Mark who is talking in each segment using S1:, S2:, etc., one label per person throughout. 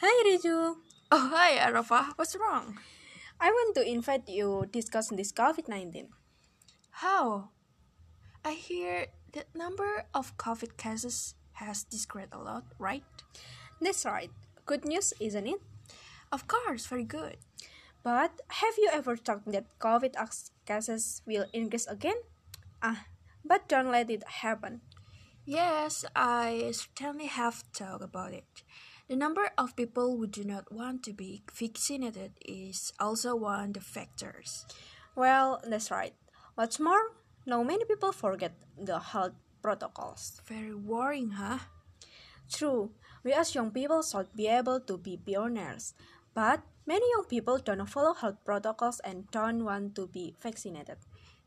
S1: Hi, Riju.
S2: Oh, hi, Arafa. What's wrong?
S1: I want to invite you discuss this COVID-19.
S2: How? I hear the number of COVID cases has decreased a lot, right?
S1: That's right. Good news, isn't it?
S2: Of course, very good.
S1: But have you ever thought that COVID ac- cases will increase again? Ah, but don't let it happen.
S2: Yes, I certainly have talked about it. The number of people who do not want to be vaccinated is also one of the factors.
S1: Well, that's right. What's more, now many people forget the health protocols.
S2: Very worrying, huh?
S1: True, we as young people should be able to be pioneers, but many young people don't follow health protocols and don't want to be vaccinated.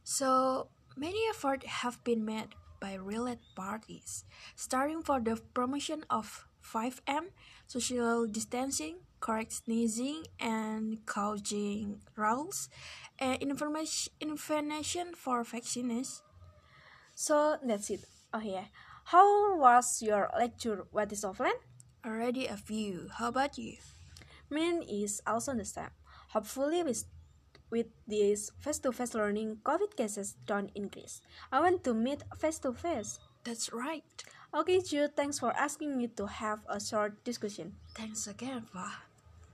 S2: So many efforts have been made by related parties, starting for the promotion of 5M, social distancing, correct sneezing and coughing rules, and information, information for vaccines.
S1: So that's it. Oh yeah. How was your lecture? What is offline?
S2: Already a few. How about you?
S1: Mine is also the same. Hopefully with with this face-to-face learning, COVID cases don't increase. I want to meet face-to-face.
S2: That's right.
S1: Okay, Ju, thanks for asking me to have a short discussion.
S2: Thanks again, Va.